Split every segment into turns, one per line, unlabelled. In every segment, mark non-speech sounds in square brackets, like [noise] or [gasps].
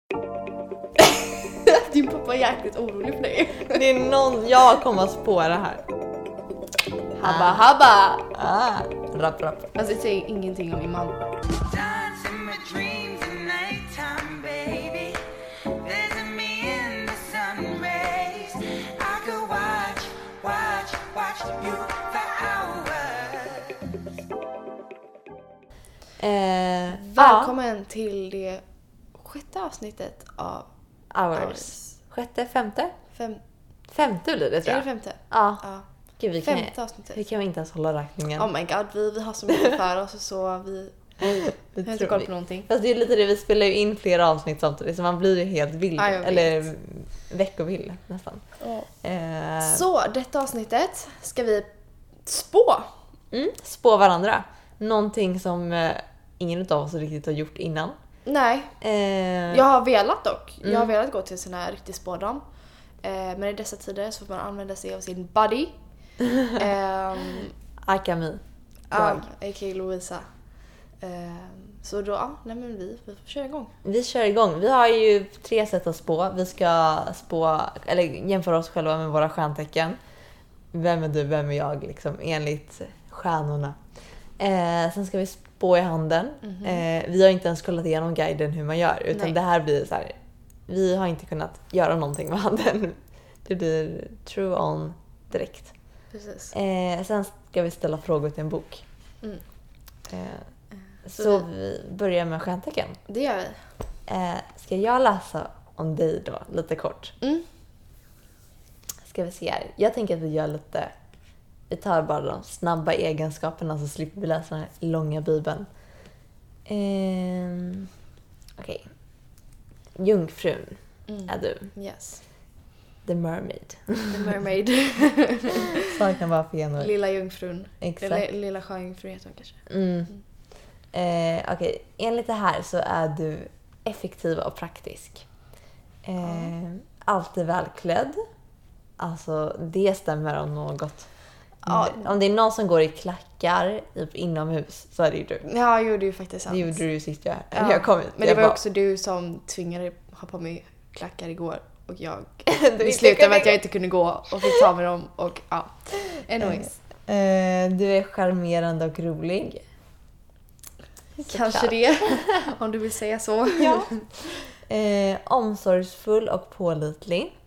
[laughs]
Din pappa är jäkligt orolig för dig.
Det är någon, jag kommer att spåra här.
Habba habba!
Ah, rapp rapp.
Alltså säg ingenting om min man.
Dance in my dreams at nighttime, baby. Visit me in the sun rays. I could watch, watch, watch you for hours.
Eh,
Välkommen till det sjätte avsnittet av
ja, hours.
Hours.
Sjätte, femte?
fem...
Femte blir det tror
Är
jag.
det femte?
Ja.
Ja.
Gud, vi kan,
Femte
vi
avsnittet.
kan inte ens hålla räkningen.
Oh my god, vi, vi har så mycket för oss och så vi
det
vi har
tror
inte koll
vi.
på någonting.
Fast det är lite det, vi spelar ju in flera avsnitt samtidigt så man blir ju helt vild.
Ja, jag vet.
eller veckovill nästan. Eh,
Så detta avsnittet ska vi spå.
mm, spå varandra. Någonting som eh, ingen av oss riktigt har gjort innan.
Nej,
Eh, Mm.
jag har velat dock. Jag har velat gå till en sån här riktig spådam. Eh, men i dessa tider så får man använda sig av sin
[laughs]
buddy. Ehm,
Akami.
Ja,
Jag.
a.k.a. Lovisa. Ehm, så då, ja, nej men vi, vi får köra igång.
Vi kör igång. Vi har ju tre sätt att spå. Vi ska spå, eller jämföra oss själva med våra stjärntecken. Vem är du, vem är jag? Liksom, enligt stjärnorna. Eh, sen ska vi spå i handen. Eh, vi har inte ens kollat igenom guiden hur man gör. Utan
Mhm. Nej.
det här blir så här. Vi har inte kunnat göra någonting med handen. Det blir true on direkt.
Precis.
Eh, sen ska vi ställa frågor till en bok.
Mm.
Eh, så
Så
vi börjar med stjärntecken.
Det gör vi.
Eh, ska jag läsa om dig då, lite kort?
Mm.
Ska vi se här. Jag tänker att vi gör lite... Vi tar bara de snabba egenskaperna så slipper vi läsa den här långa bibeln. Ehm, Okej. Jungfrun
Mm.
är du.
Yes.
The Mermaid.
The [laughs] Mermaid.
Saknar bara fenor.
lilla jungfrun.
Exakt.
Eller lilla sjöjungfrun heter hon kanske.
Mm. Eh, Okej, enligt det här så är du effektiv och praktisk. Eh, Alltid välklädd. Alltså, det stämmer om något.
Ja.
Om det är någon som går i klackar i- inomhus så är det ju du.
Ja, jo det är ju faktiskt sant.
Det gjorde du ju sist jag,
Ja.
jag kom hit.
Men det
jag
var ju
bara,
också du som tvingade ha på mig klackar igår och jag
Du
[laughs] det
inte
slutade
kunde
med att jag inte kunde gå och fick ta med dem och ja. Anyways.
Eh, du är charmerande och rolig.
Kanske [laughs] det. Om du vill säga så.
Ja. [laughs] Eh, omsorgsfull och pålitlig.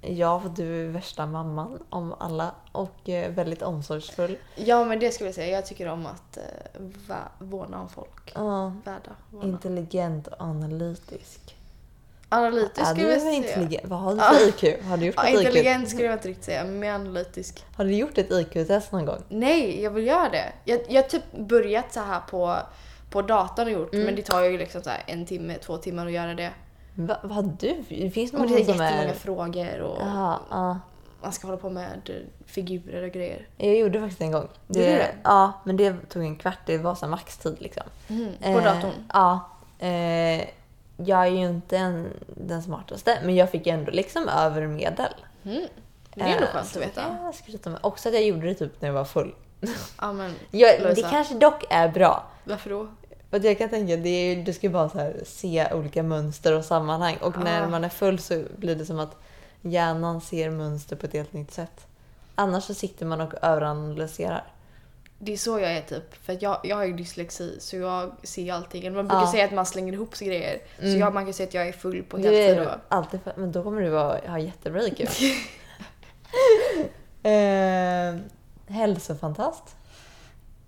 Ja, för du är värsta mamman om alla och eh, väldigt omsorgsfull.
Ja men det skulle jag säga. Jag tycker om att eh, va- vårna om folk.
Ja,
Värda. Vårna.
intelligent och analytisk.
Analytisk
är
skulle
du
jag
en
säga.
intelligent? Vad har du för
Ja.
IQ? Har du gjort
Ja,
ett
intelligent
IQ?
skulle jag inte riktigt säga, men analytisk.
Har du gjort ett IQ-test någon gång?
Nej, jag vill göra det. Jag jag har typ börjat så här på, på datorn och gjort,
Mm.
men det tar ju liksom så här en timme, två timmar att göra det.
Va, vad har du? Det finns
Och
någon
det är
som
jättemånga
är...
frågor och
Jaha, ja.
man ska hålla på med eh, figurer och grejer.
Jag gjorde faktiskt en gång.
Du gjorde det?
Ja, men det tog en kvart. Det var så här maxtid liksom.
på
Eh,
datorn?
Ja. Eh, jag är ju inte en, den smartaste, men jag fick ändå liksom över medel.
Det är ändå skönt
Eh, så
att
det
veta.
kan jag skryta med. Också att jag gjorde det typ när jag var full.
Ja, men
Jag, det
Lovisa,
kanske dock är bra.
Varför då?
För att jag kan tänka, det är, ju- du ska ju bara så här, se olika mönster och sammanhang. Och när
Ah.
man är full så blir det som att hjärnan ser mönster på ett helt nytt sätt. Annars så sitter man och överanalyserar.
Det är så jag är typ. För att jag, jag har ju dyslexi så jag ser allting. Eller Man brukar
Ja. Mm.
säga att man slänger ihop sig grejer. Så jag, man kan säga att jag är full på
Du
heltid.
är
Är...
alltid för, men då kommer du vara, ha jättebra [laughs] IQ. eh, hälsofantast.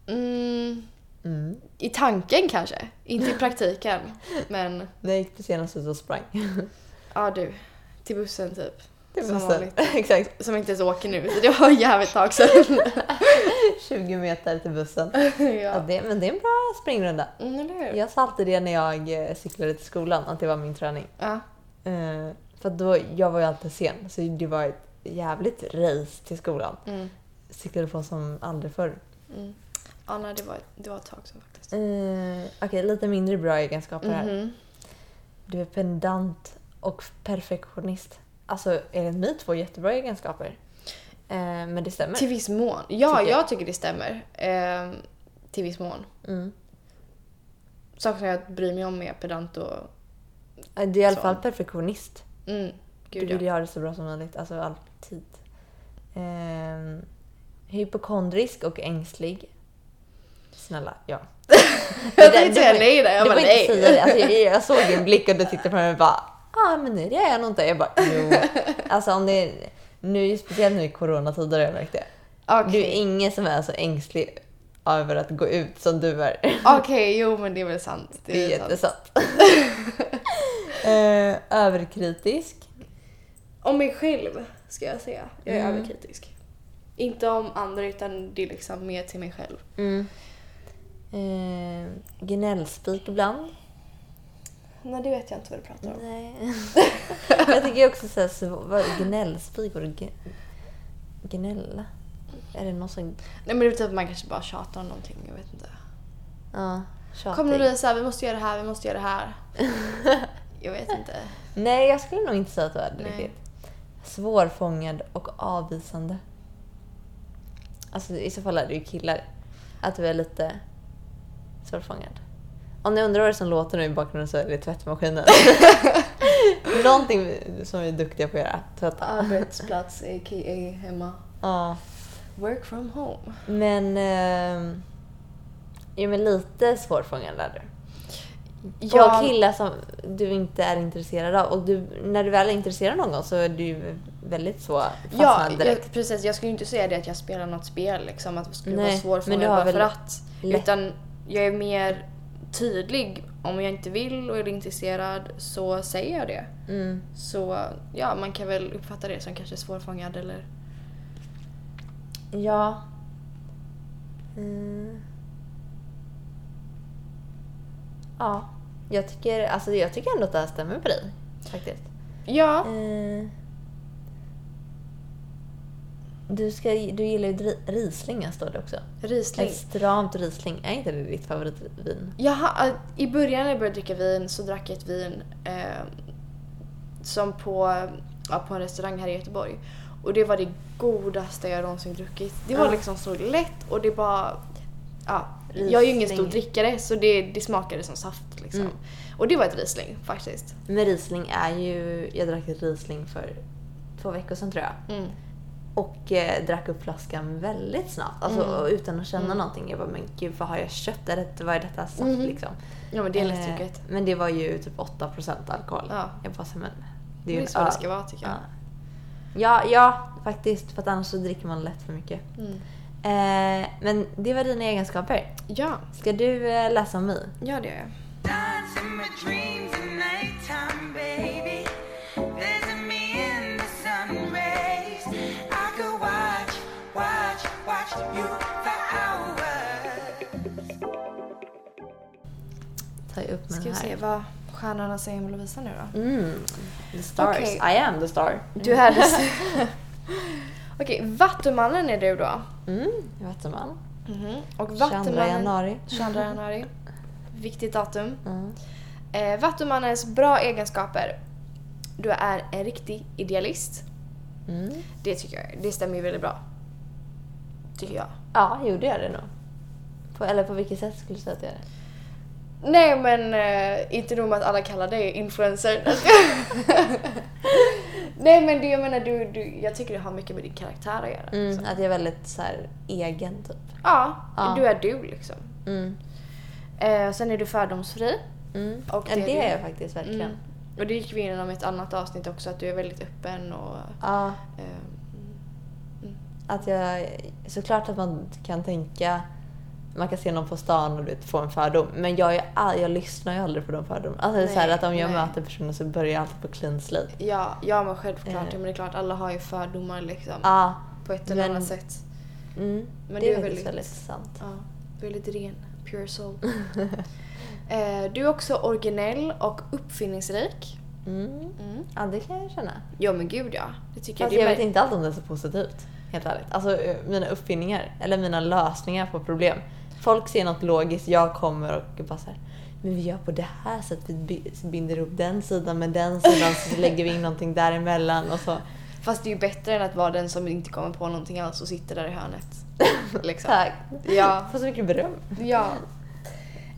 Mm,
Mm.
I tanken kanske. Inte i praktiken. men
När jag gick på senast ut och sprang.
ja du. Till bussen typ.
Det var
Som
så-
vanligt.
[laughs] Exakt.
Som inte ens åker nu. Så det var ett jävligt tag sedan. [laughs]
20 meter till bussen. Ja,
ja.
det, men det är en bra springrunda.
Mm, eller hur?
Jag sa alltid det när jag eh, cyklade till skolan, att det var min träning.
Ja.
Eh, för att då, jag var ju alltid sen, så det var ett jävligt race till skolan.
Mm.
Cyklade på som aldrig förr.
Mm. Ja, nej, det var, det var ett tag sedan faktiskt.
Eh, Okej, lite mindre bra egenskaper här.
Mhm.
Du är pendant och perfektionist. Alltså enligt mig två jättebra egenskaper. Eh, men det stämmer.
Till viss mån. Ja,
Tycker jag.
jag tycker det stämmer. Ehm, till viss mån.
Mm.
Saker som jag bryr mig om är pedant och...
Eh, Du är i alla
Så.
fall perfektionist.
Mm. Gud
du vill
ja.
göra det så bra som möjligt, alltså alltid. Ehm, hypokondrisk och ängslig. Snälla, ja.
[laughs] Jag
Det-
tänkte
det-
säga nej där, jag
du
bara
får
nej.
inte säga det. Alltså, jag, jag såg din blick och du tittade på mig och bara ah, men nej det är jag nog inte. Jag bara
[laughs]
jo. Alltså om det är, nu, speciellt nu i coronatider har jag märkt det.
Okej,
Du är ingen som är så ängslig över att gå ut som du är.
Okej, jo men det är väl sant.
Det är
väl sant.
jättesant. Eh, överkritisk.
Om mig själv ska jag säga. Jag är
Mm.
överkritisk. Inte om andra utan det är liksom mer till mig själv.
Eh, gnällspik ibland.
Nej det vet jag inte vad du pratar om.
Nej. [laughs] jag tycker också så här, sv- vad, gnällspik och g- gnälla. Är det någon som...
Nej men det är typ att man kanske bara tjatar om någonting, jag vet inte.
Ja,
Kom nu
tjatig.
Lisa, vi måste göra det här, vi måste göra det här. [laughs] Jag vet inte.
Nej, jag skulle nog inte säga att du är det
Nej.
riktigt. Svårfångad och avvisande. Alltså i så fall är du ju killar. Att du är lite svårfångad. Om ni undrar vad det är som låter nu i bakgrunden så är
[laughs]
det tvättmaskinen. Någonting som vi är duktiga på att göra. Tvätta.
Arbetsplats a.k.a. hemma.
Ja.
Work from home.
Men... Eh, jo men lite svårfångad är du. På
Jag,
killar som du inte är intresserad av. Och du, när du väl är intresserad av någon så är du ju väldigt så fastnad
ja,
direkt.
jag, precis. Jag skulle ju inte säga det att jag spelar något spel liksom, att jag skulle
Nej,
vara
men
svårfångad
du har
bara
väl
för att.
lätt-
Utan jag är mer tydlig. Om jag inte vill och är intresserad så säger jag det.
Mm.
Så ja, man kan väl uppfatta det som kanske svårfångad eller...
Ja. Mm. Ja. Jag tycker, alltså, jag tycker ändå att det här stämmer på dig. Faktiskt.
Ja,
Eh. Du, ska, du gillar ju dri- Rieslingar står det också.
Riesling.
Ett stramt Riesling. Är inte det ditt favoritvin?
Jaha, eh, i början när jag började dricka vin så drack jag ett vin eh, som på, ja, på en restaurang här i Göteborg. Och det var det godaste jag någonsin druckit. Det var
Ja.
liksom så lätt och det bara... Ja, jag är ju ingen stor
Riesling.
drickare så det, det smakade som saft liksom.
Mm.
Och det var ett Riesling faktiskt.
Men Riesling är ju... Jag drack ett Riesling för två veckor sedan tror jag.
Mm.
Och eh, drack upp flaskan väldigt snabbt. Alltså,
Mm.
och Utan att känna
Mm.
någonting. Jag bara, men gud vad har jag köpt? Är det, vad är detta saft
Mhm.
liksom?
Ja men det är
Eh,
lättdrucket.
Men det var ju typ 8% alkohol.
Ja.
Jag bara, så här, men det
Det
är
är
ju
så
en
det
öl.
ska vara tycker jag.
Ja. Ja, ja, faktiskt. För att annars så dricker man lätt för mycket.
Mm.
Eh, men det var dina egenskaper.
Ja,
Ska du eh, läsa om mig?
ja det gör jag.
Dance in my dreams at nighttime, baby. There's a me in the sun rays. I could watch, watch, watch you for hours.
Ta upp mig
Ska vi
här.
se vad stjärnorna säger om Lovisa nu då.
Mm. The stars.
Okej.
I am the star.
Du är det. [laughs] Okej, Vattumannen är du då.
Mm. Vattuman.
Och
22
Vattumannen...
januari.
22 [laughs] januari. Viktigt datum.
Mm.
Eh, Vattumannens bra egenskaper. Du är en riktig idealist.
Mm.
Det tycker jag. Det stämmer ju väldigt bra. Tycker jag.
Ja, gjorde jag det nog? På, eller på vilket sätt skulle du säga att jag är det?
Nej men eh, inte nog med att alla kallar dig influencer. [laughs] Nej men det jag menar, du, du, jag tycker det har mycket med din karaktär att göra.
Mm,
Så.
att jag är väldigt så här, egen typ.
Ja,
Ja.
du är du liksom.
Mm.
Eh, sen är du fördomsfri.
Mm.
Och
ja,
det
det,
är
är
det.
jag faktiskt verkligen.
Mm. Och det gick vi igenom i ett annat avsnitt också, att du är väldigt öppen och...
Ja,
Eh,
att jag, såklart att man kan tänka, man kan se någon på stan och du vet, få en fördom. Men jag, är, all- jag lyssnar ju aldrig på de fördomarna. Alltså, det är så här
Nej,
att om jag
nej.
möter personer så börjar jag alltid på clean slate.
ja, ja men självklart.
Eh.
Ja, men det är klart, alla har ju fördomar liksom.
Ja,
på ett eller
men-
annat sätt.
mm.
Men
det
det
är
är
faktiskt
väldigt-
väldigt sant.
Ja, väldigt ren. Pure
[laughs]
soul. eh, du är också originell och uppfinningsrik.
Mm.
Mm.
Ja, det kan jag känna.
Ja men gud ja. Det tycker
Fast
jag.
Alltså, jag
Det
vet
är
inte allt om det är så positivt. Helt ärligt. Alltså eh, mina uppfinningar, eller mina lösningar på problem. Folk ser något logiskt, jag kommer och bara så här, men vi gör på det här sättet, vi bi- binder upp den sidan med den sidan så lägger vi in någonting däremellan och så.
Fast det är ju bättre än att vara den som inte kommer på någonting alls
[laughs]
och sitter där i hörnet. liksom.
Tack!
Ja.
Får så mycket beröm.
Ja.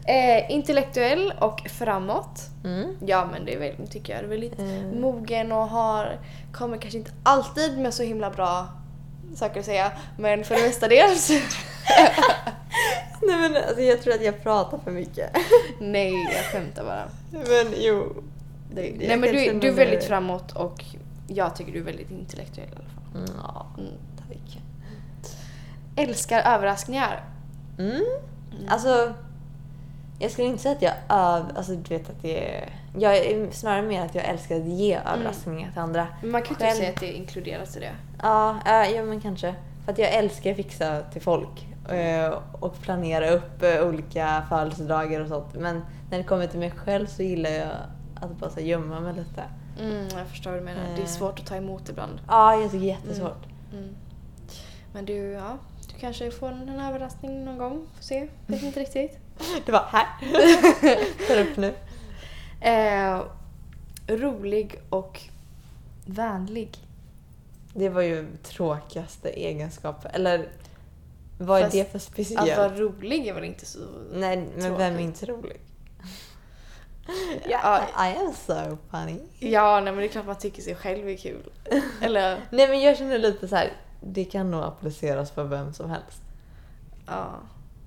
Eh, intellektuell och framåt.
Mm.
Ja men det är väl, tycker jag. Det är väl lite
Mm.
mogen och har, kommer kanske inte alltid med så himla bra saker att säga. Men för det mestadels.
Nej men alltså, jag tror att jag pratar för mycket.
[laughs]
[laughs]
Nej jag skämtar bara.
men jo. Det, jag
Nej men
kanske
du, du är
menar-
väldigt framåt och jag tycker du är väldigt intellektuell i alla fall.
Mm, Ja,
Mm.
tack.
Älskar överraskningar.
Mm. Alltså, jag skulle inte säga att jag öv... Alltså du vet att det är... Jag är snarare mer att jag älskar att ge överraskningar till andra.
Men man kan ju
Själv-
inte säga att det inkluderas i det.
Ja, äh, ja men kanske. För att jag älskar att fixa till folk eh, och planera upp eh, olika födelsedagar och sånt. Men när det kommer till mig själv så gillar jag att bara så här, gömma mig lite.
Mm, jag förstår vad du menar. Det är
Eh.
svårt att ta emot ibland.
Ja, jag tycker det är jättesvårt.
Mm. Men du, ja. Du kanske får en överraskning någon gång. Får [laughs] se. Vet inte riktigt.
Det var här. [laughs] Tar upp nu.
Eh, rolig och vänlig.
Det var ju tråkigaste egenskapen. Eller vad
Fast
är det för
Att
speciellt?
vara rolig är väl inte så...
Nej, men vem är
tråkigt.
inte [laughs] rolig?
Ja.
I, I am so funny.
Ja, nej, men det är klart man tycker sig själv är [laughs] kul. Eller,
Nej men jag känner lite så här. det kan nog appliceras för vem som helst.
ja.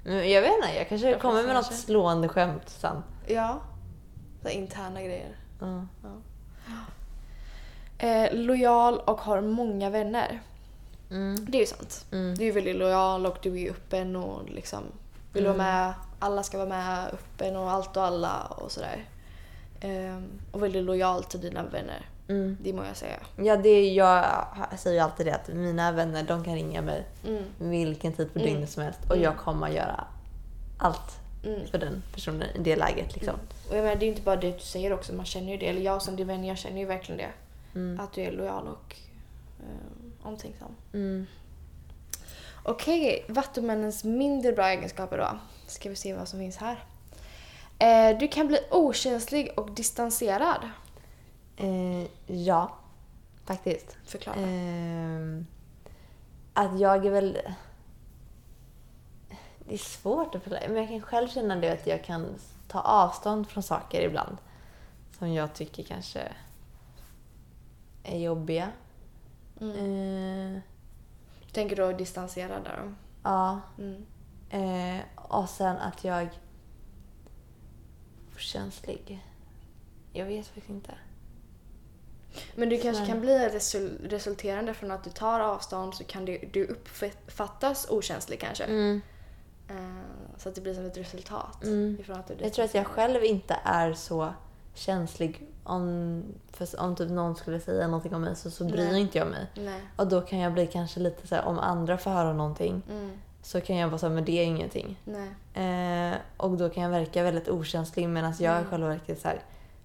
Men jag vet inte, jag kanske
Jag
kommer med något
kanske.
slående skämt sen. Mm.
Ja. Så här interna grejer.
Ja.
Eh, lojal och har många vänner.
Mm.
Det är ju sant.
Mm.
Du är väldigt lojal och du är öppen och liksom vill vara med. Alla ska vara med, öppen och allt och alla och sådär. Ehm, och väldigt lojal till dina vänner.
Mm.
Det må jag säga.
Ja, det är, jag säger ju alltid det att mina vänner de kan ringa mig
Mm,
vilken tid på
Mm.
dygnet som helst och jag kommer att göra allt
mm.
för den personen i det läget. Liksom.
Och jag menar, det är ju inte bara det du säger också, man känner ju det. Eller jag som din vän, jag känner ju verkligen det.
Mm.
Att du är lojal och ehm, omtänksam.
Mm.
Okej, Vattumännens mindre bra egenskaper då. Ska vi se vad som finns här. Eh, du kan bli okänslig och distanserad.
Eh, ja, faktiskt.
Förklara.
Ehm, att jag är väl... Det är svårt att förklara, men jag kan själv känna det att jag kan ta avstånd från saker ibland som jag tycker kanske är jobbiga.
eh.
Ehm,
Mm. Tänker då distanserad där då.
ja.
Mm.
Ehm, och sen att jag... Okänslig? Jag vet faktiskt inte.
Men du kanske
Snälla.
kan bli resul- resulterande från att du tar avstånd så kan du, du uppfattas okänslig kanske. Eh, så att det blir som ett resultat.
Mm.
Ifrån att du
Jag tror att jag
distanserar.
själv inte är så känslig om, för om typ någon skulle säga någonting om mig så, så bryr
Nej.
inte jag mig.
Nej.
Och då kan jag bli kanske lite så här, om andra får höra någonting
Mm.
så kan jag vara så här, men det är ingenting.
Nej.
Eh, och då kan jag verka väldigt okänslig medan jag
Mm.
i själva verket så här,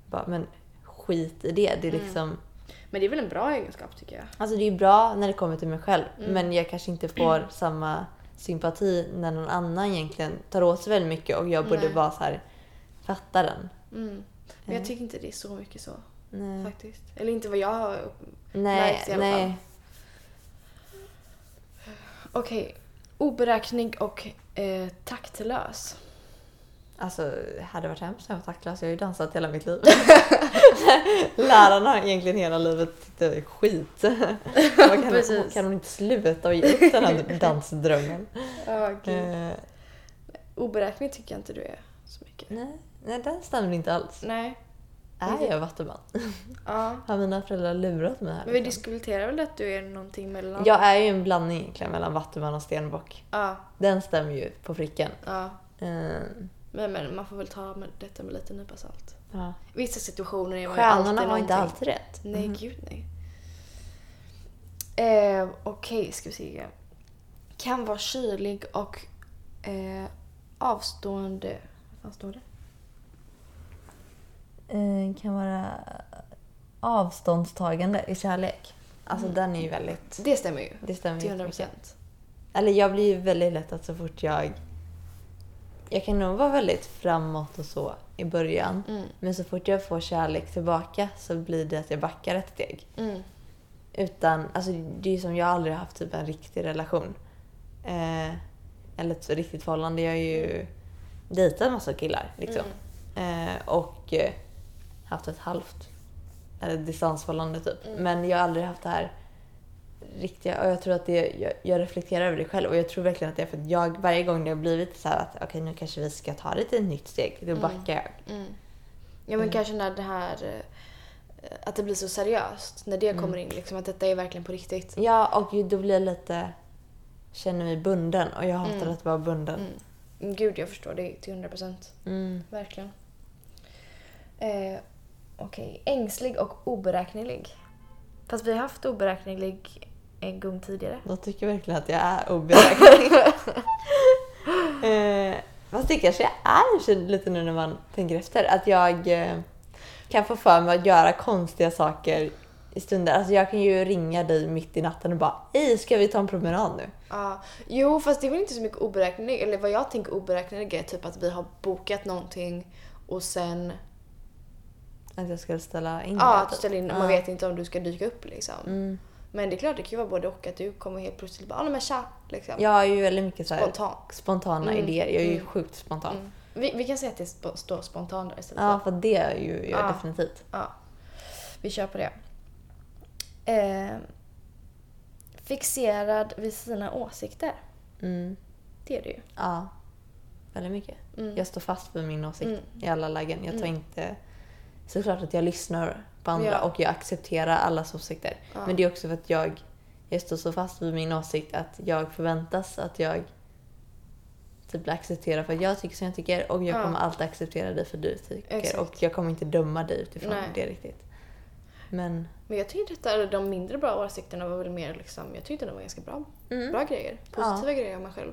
bara, men skit i det. Det är
Mm.
liksom,
Men det är väl en bra egenskap tycker jag.
alltså det är ju bra när det kommer till mig själv
Mm.
men jag kanske inte
[clears throat]
får samma sympati när någon annan egentligen tar åt sig väldigt mycket och jag borde
Nej.
bara så här, fatta den.
Mm. Men
Mm.
jag tycker inte det är så mycket så
Nej.
faktiskt. Eller inte vad jag har upp-
Nej,
Likes i alla
nej.
Okej. Oberäknelig och eh, taktlös.
Alltså, det hade varit hemskt när jag var taktlös. Jag har ju dansat hela
[laughs]
mitt liv. Lärarna har egentligen hela livet tyckt det är skit. [laughs] Vad kan,
Precis.
kan de inte sluta och ge upp
[laughs]
den här dansdrömmen?
Oh,
Eh,
Oberäknelig tycker jag inte du är så mycket.
nej, nej, den stämmer inte alls.
Nej. Mm.
Är jag vattenman?
Ja.
Har mina föräldrar lurat mig här?
Men vi
liksom?
diskuterar väl att du är någonting mellan?
Jag är ju en blandning egentligen mellan vattenman och stenbock.
Ja.
Den stämmer ju på pricken.
ja.
Eh,
Men, men man får väl ta med detta med lite nypa salt.
ja.
Vissa situationer är man ju alltid
Stjärnorna har inte Mm-hmm.
någonting.
alltid rätt.
Nej, gud nej. Eh, Okej, ska vi se. Kan vara kylig och eh, avstående. Vad fan står det?
eh, kan vara avståndstagande i kärlek. Alltså den är ju väldigt...
Det stämmer ju.
Det stämmer
Till
ju
100
jättemycket.
procent.
Eller jag blir ju väldigt lätt att så fort jag... Jag kan nog vara väldigt framåt och så i början.
Mm.
Men så fort jag får kärlek tillbaka så blir det att jag backar ett steg.
Mm.
Utan, alltså det är ju som jag aldrig har haft typ en riktig relation. Eh, eller ett riktigt förhållande. Jag är ju dejtat massa killar. Liksom. Eh, och eh, haft ett halvt eller distansförhållande typ. Men jag har aldrig haft det här riktiga och jag tror att det, jag, jag reflekterar över det själv och jag tror verkligen att det är för att jag varje gång det har blivit så här att okej nu kanske vi ska ta det till ett nytt steg, då backar jag.
Ja men
Mm.
kanske när det här eh, att det blir så seriöst, när det
Mm.
kommer in liksom att detta är verkligen på riktigt.
Ja och ju- då blir jag lite, känner mig bunden och jag hatar att vara bunden.
Mm, Gud jag förstår det till 100 procent. Verkligen. Eh, Okej, ängslig och oberäknelig. Fast vi har haft oberäknelig en gång tidigare.
De tycker verkligen att jag
[laughs]
är oberäknelig. eh, fast det kanske jag är i och för sig lite nu när man tänker efter. Att jag eh, kan få för mig att göra konstiga saker i stunder. Alltså jag kan ju ringa dig mitt i natten och bara Hej, ska vi ta en promenad nu?
Ja, jo, fast det är väl inte så mycket oberäknelig. Eller vad jag tänker oberäknelig är typ att vi har bokat någonting och sen...
Att jag ska ställa in
Ja,
det,
att du
typ.
ställer in.
Ja.
Man vet inte om du ska dyka upp liksom. Men det är klart, det kan ju vara både och. Att du kommer helt plötsligt bara ah, nej, men tja, liksom.
Jag är ju väldigt mycket så här
Spontan. Mm.
spontana idéer. Jag är ju sjukt spontan.
Vi, vi kan säga att det sp- står spontan där istället.
Ja, för det är ju jag
Ja.
definitivt.
Ja. Vi kör på det. Eh, fixerad vid sina åsikter.
Mm.
Det är det ju.
Ja, väldigt mycket. Jag står fast vid min åsikt
Mm.
i alla lägen. Jag tar inte... Såklart att jag lyssnar på andra
Ja.
och jag accepterar allas åsikter. Men det är också för att jag, jag står så fast vid min åsikt att jag förväntas att jag typ blir accepterad för att jag tycker som jag tycker och jag
Ja.
kommer alltid acceptera dig för du tycker.
Exakt.
Och jag kommer inte döma dig utifrån
Nej.
det riktigt. Men
Men jag tyckte detta, eller de mindre bra åsikterna var väl mer liksom, jag tyckte de var ganska bra.
Mm.
Bra grejer. Positiva grejer om mig själv.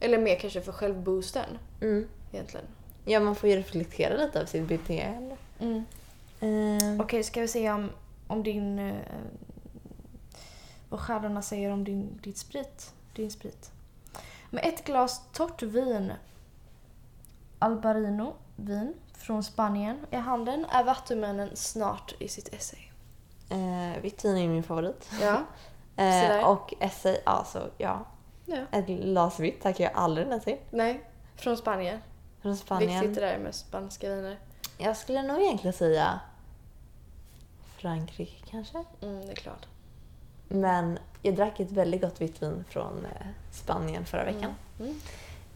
Eller mer kanske för självboosten.
mm.
Egentligen.
ja, man får ju reflektera lite över sitt beteende.
Mm.
Ehm,
Okej, ska vi se om, om din... Eh, vad stjärnorna säger om din, ditt sprit. Din sprit. Med ett glas torrt vin, Albarino vin från Spanien i handen är vattumännen snart i sitt esse.
eh, Vitin är ju min favorit.
[laughs] Ja. Sådär.
Eh, och essay, alltså ja.
ja.
Ett glas vitt tackar jag aldrig nej till.
Nej, från Spanien.
Från Spanien.
Viktigt det där med spanska viner.
Jag skulle nog egentligen säga Frankrike kanske.
Mm, det är klart.
Men jag drack ett väldigt gott vitt vin från eh, Spanien förra veckan.
Mm.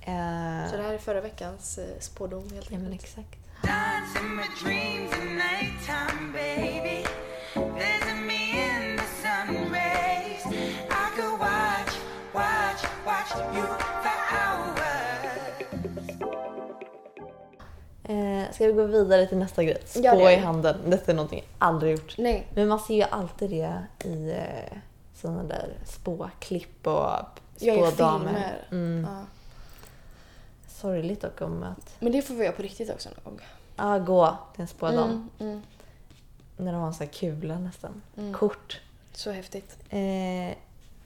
Eh,
Så det här är förra veckans eh, spådom helt
ja men
enkelt.
exakt.
Dance in my dreams at nighttime, baby. Visit me in the sun rays. I could watch, watch, watch you for hours.
Eh, ska vi gå vidare till nästa grej? Spå
Gör det.
i handen. Detta är någonting jag aldrig gjort.
Nej.
Men man ser ju alltid det i eh, sådana där spåklipp och
Jag gör
spådamer.
filmer.
Mm.
Ja.
Sorgligt dock om att
Men det får vi göra på riktigt också någon gång.
ah, gå till en spådam.
Mm, mm.
När de har en sån här kula nästan. Mm. Kort.
Så häftigt.
Eh,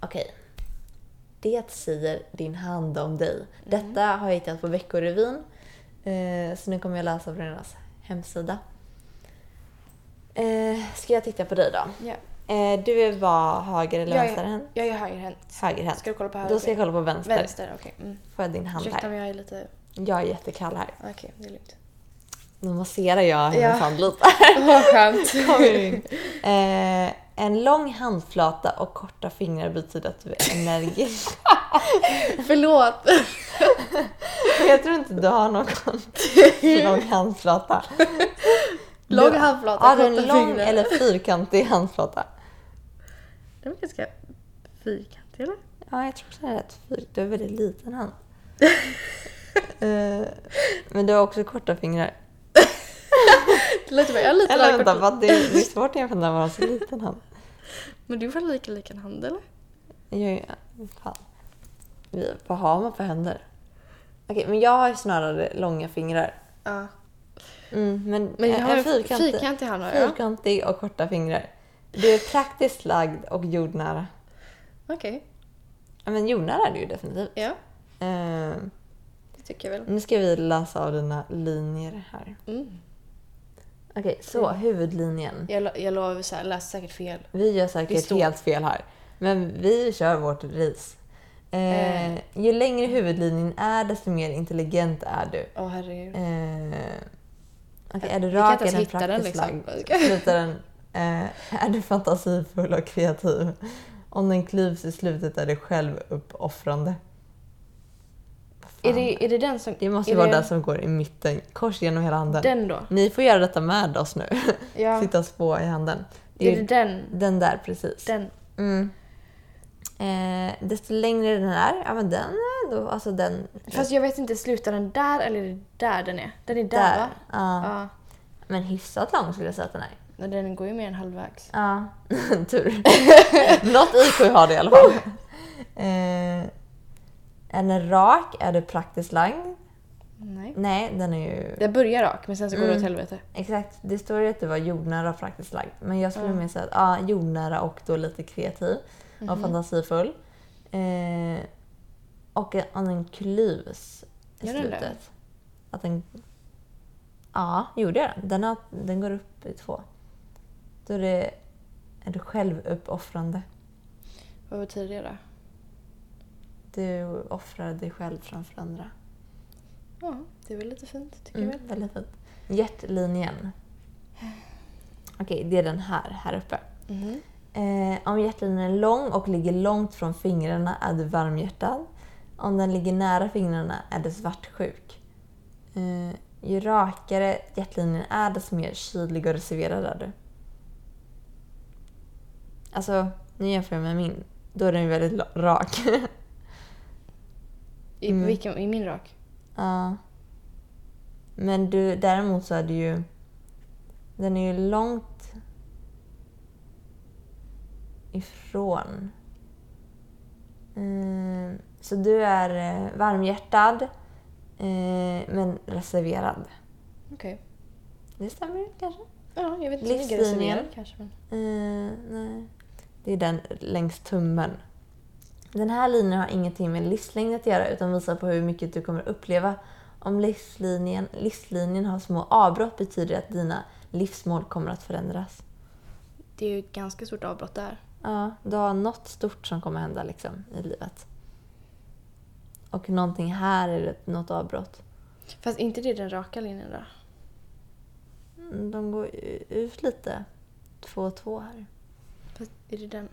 Okej. Det säger din hand om dig.
Mm.
Detta har jag hittat på Veckorevyn. Eh, så nu kommer jag läsa på deras hemsida. Eh, ska jag titta på dig då?
Ja.
Eh, du är vad? Höger eller
Jag
vänsterhänt?
är, jag är högerhänt.
Högerhänt.
Ska du kolla på höger?
Då ska jag kolla på vänster.
Vänster, okej. Mm.
Får jag din hand
Ursäkta om
här?
jag är lite...
Jag är jättekall här.
Okej, det är
[laughs]
lugnt.
Nu masserar jag hennes
Ja. [laughs]
hand lite.
Vad skönt. [laughs]
Eh, en lång handflata och korta fingrar betyder att du är energisk.
Förlåt.
Jag tror inte du har [laughs] någon så lång handflata.
Lång
Du-
handflata,
Har du en
korta
lång
fingrar.
eller fyrkantig handflata?
Den var ganska fyrkantig eller?
Ja, jag tror det är rätt fyrkantig. Du har väldigt liten hand. [laughs] Eh, Men du har också korta fingrar.
Det lät som jag är lite
Eller vänta,
lagkort.
vad det är det är svårt att jämföra när man har så liten hand.
Men du har lika lika hand eller?
Jag, är- fan. Vi- Vad har man för händer? Okej, men jag har ju snarare långa fingrar.
Ja.
Mm, men
Men jag
en-
har
en
en
fyrkantig,
fyrkantig hand har jag.
fyrkantig och korta fingrar. Du är praktiskt lagd och jordnära.
Okej.
Ja, men jordnära är du ju definitivt.
Ja,
Eh,
det tycker jag väl.
nu ska vi läsa av dina linjer här.
Mm.
Okej, så huvudlinjen.
Jag, lo- jag lovar, så här, läste säkert fel.
Vi gör säkert
Det står-
helt fel här. Men vi kör vårt ris. Eh, Ju längre huvudlinjen är desto mer intelligent är du.
Åh herregud.
Eh, okej, är du
Vi kan
rak
inte ens
eller
hitta den,
praktiskt
liksom.
lagd? Slutar den. Eh, är du fantasifull och kreativ? Om den klyvs i slutet är du självuppoffrande. Vad fan.
Är det, är det den som...
det måste
är
ju vara den som går i mitten, kors genom hela handen.
Den då?
Ni får göra detta med oss nu.
Ja.
[laughs] Sitta och spå i handen. Det
Är
är
det
ju
den?
den där precis.
Den?
Mm. Eh, desto längre den är, ja men den är ändå, alltså den...
Fast jag vet inte, slutar den där eller är det där den är? Den är där, va?
Ja.
Ja.
Men hyfsat lång skulle jag säga att den är.
Men Den går ju mer än halvvägs.
Ja, [laughs] tur. Något IQ har det i alla fall. Eh, är den rak? Är det praktiskt lagd?
Nej.
Nej, Mm. den är ju...
Den börjar rak men sen så går det åt helvete.
Exakt, det står ju att du var jordnära och praktiskt lagd. Men jag skulle
Ja.
mer säga att ja, jordnära och då lite kreativ och fantasifull. Eh, och en- om den klyvs i
Gör den det?
slutet. Att den... Ja, gjorde jag den. Den, har, den går upp i två. Då är det, är det självuppoffrande.
Vad betyder det då?
Du offrar dig själv framför andra.
Ja, det är väl lite fint tycker jag
Mm,
väl.
väldigt fint. Hjärtlinjen. Okej, det är den här, här uppe.
Mhm.
Eh, om hjärtlinjen är lång och ligger långt från fingrarna är du varmhjärtad. Om den ligger nära fingrarna är du svartsjuk. Eh, ju rakare hjärtlinjen är desto mer kylig och reserverad är du. Alltså, nu jämför jag med min. Då är den ju väldigt la- rak.
I,
Mm.
vilken, I min rak?
Ja. Men du, däremot så är det ju... Den är ju långt ifrån. Mm, så du är eh, varmhjärtad eh, men reserverad.
Okej.
Det stämmer ju kanske?
Ja, jag vet inte. Livslinjen.
Livslinjen.
reserverad kanske men...
Eh, nej. Det är den längs tummen. Den här linjen har ingenting med livslängd att göra utan visar på hur mycket du kommer uppleva. Om livslinjen, livslinjen har små avbrott betyder det att dina livsmål kommer att förändras.
Det är ju ett ganska stort avbrott där.
Ja, du har något stort som kommer hända liksom, i livet. Och någonting här är det något avbrott.
Fast inte det den raka linjen då?
Mm, De går u- ut lite. Två och två här.
Fast är det den?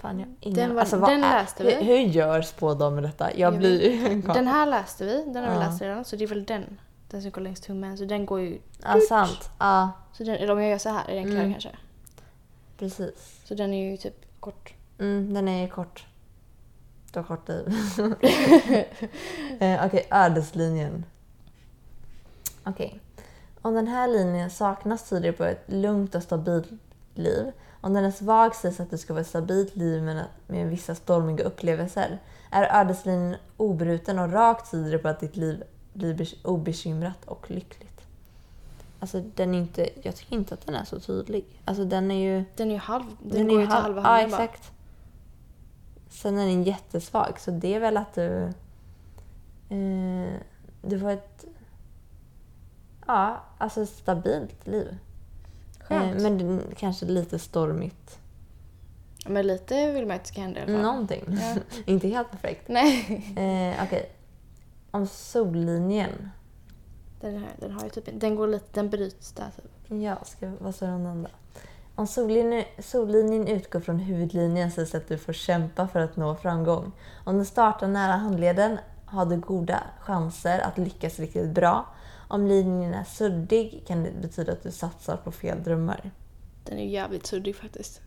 Fan, jag, ingen, Alltså,
Den var-
vad
den
är-
läste vi.
Hur, hur gör spådam med detta? Jag,
Jag
blir ju [laughs] en
Den här läste vi, den har vi
Ja.
läst redan. Så det är väl den. Den som går längs tummen. Så den går ju...
Ja, sant. Ja,
Så den, eller om jag gör så här är den klar
Mm.
kanske.
precis.
Så den är ju typ kort.
Mm, den är ju kort. Du har kort liv. eh, Okej, ödeslinjen. Okej. Om den här linjen saknas tyder det på ett lugnt och stabilt liv. Om den är svag sägs att det ska vara ett stabilt liv men att- med vissa stormiga upplevelser. Är ödeslinjen obruten och rak tyder det på att ditt liv blir bes- obekymrat och lyckligt. Alltså den är inte, jag tycker inte att den är så tydlig. Alltså den är ju...
Den är ju halv... Den,
Den
går
är
ju till
halv-
halva
Ja,
handen bara.
exakt. Sen är den jättesvag, så det är väl att du... Eh, du får ett... Ja, alltså ett stabilt liv. Eh,
Skönt.
men det- kanske lite stormigt.
men... lite vill man ju att det ska hända i alla fall.
Någonting.
Ja.
[laughs] Inte helt perfekt.
Nej. [laughs]
Eh, Okej. Om sollinjen.
Den, här, den har ju typ... Den går lite... Den bryts där typ.
Ja, ska, vad sa den andra? Om sollinjen, sollinjen utgår från huvudlinjen sägs att du får kämpa för att nå framgång. Om den startar nära handleden har du goda chanser att lyckas riktigt bra. Om linjen är suddig kan det betyda att du satsar på fel drömmar.
Den är ju jävligt suddig faktiskt.